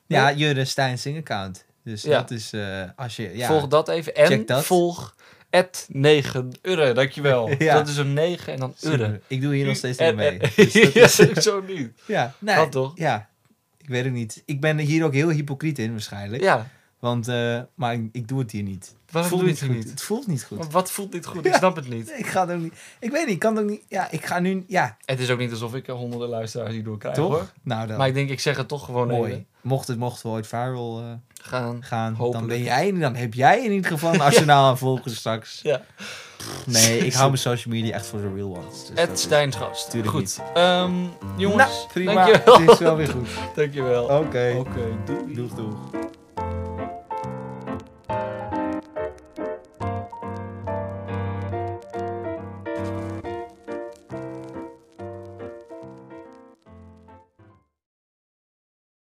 Speaker 3: Ja, Jurre Stijn Sing account. Dus
Speaker 4: Ja.
Speaker 3: dat is eh, als je... Ja,
Speaker 4: Volg dat even.
Speaker 3: Check
Speaker 4: En
Speaker 3: dat.
Speaker 4: volg at 9 urre, dankjewel.
Speaker 3: Ja.
Speaker 4: Dat is een 9 en dan urre.
Speaker 3: Super. Ik doe hier nog steeds
Speaker 4: niet
Speaker 3: niet mee.
Speaker 4: ja, zo niet.
Speaker 3: Ja, nee.
Speaker 4: Dat toch?
Speaker 3: Ja, ik weet het niet. Ik ben hier ook heel hypocriet in waarschijnlijk.
Speaker 4: Ja,
Speaker 3: Want, eh, maar ik, ik doe het hier niet.
Speaker 4: waarom
Speaker 3: Voelt
Speaker 4: doe je het hier
Speaker 3: goed.
Speaker 4: niet?
Speaker 3: Het voelt niet goed.
Speaker 4: Want Wat voelt dit goed?
Speaker 3: Ja.
Speaker 4: Ik snap het niet.
Speaker 3: Nee, Ik ga het ook niet. Ik weet niet, ik kan het ook niet. Ja, ik ga nu. Ja,
Speaker 4: Het is ook niet alsof ik er honderden luisteraars hierdoor krijg,
Speaker 3: toch?
Speaker 4: hoor.
Speaker 3: Nou, dan.
Speaker 4: Maar ik denk, ik zeg het toch gewoon
Speaker 3: mooi.
Speaker 4: even.
Speaker 3: Mocht het mocht wel ooit viral eh,
Speaker 4: Gaan.
Speaker 3: gaan, dan,
Speaker 4: Hopelijk.
Speaker 3: ben jij, dan heb jij in ieder geval een arsenaal aan volgers straks.
Speaker 4: Ja.
Speaker 3: Nee, ik hou mijn social media echt voor de real ones. Dus dat
Speaker 4: Ed
Speaker 3: is-
Speaker 4: Stijn Schoust.
Speaker 3: Tuurlijk
Speaker 4: Goed.
Speaker 3: niet.
Speaker 4: Ehm, jongens,
Speaker 3: Nou, prima.
Speaker 4: dankjewel.
Speaker 3: Het is wel weer goed.
Speaker 4: dankjewel.
Speaker 3: Oké.
Speaker 4: Oké, doei.
Speaker 3: Doeg, doeg.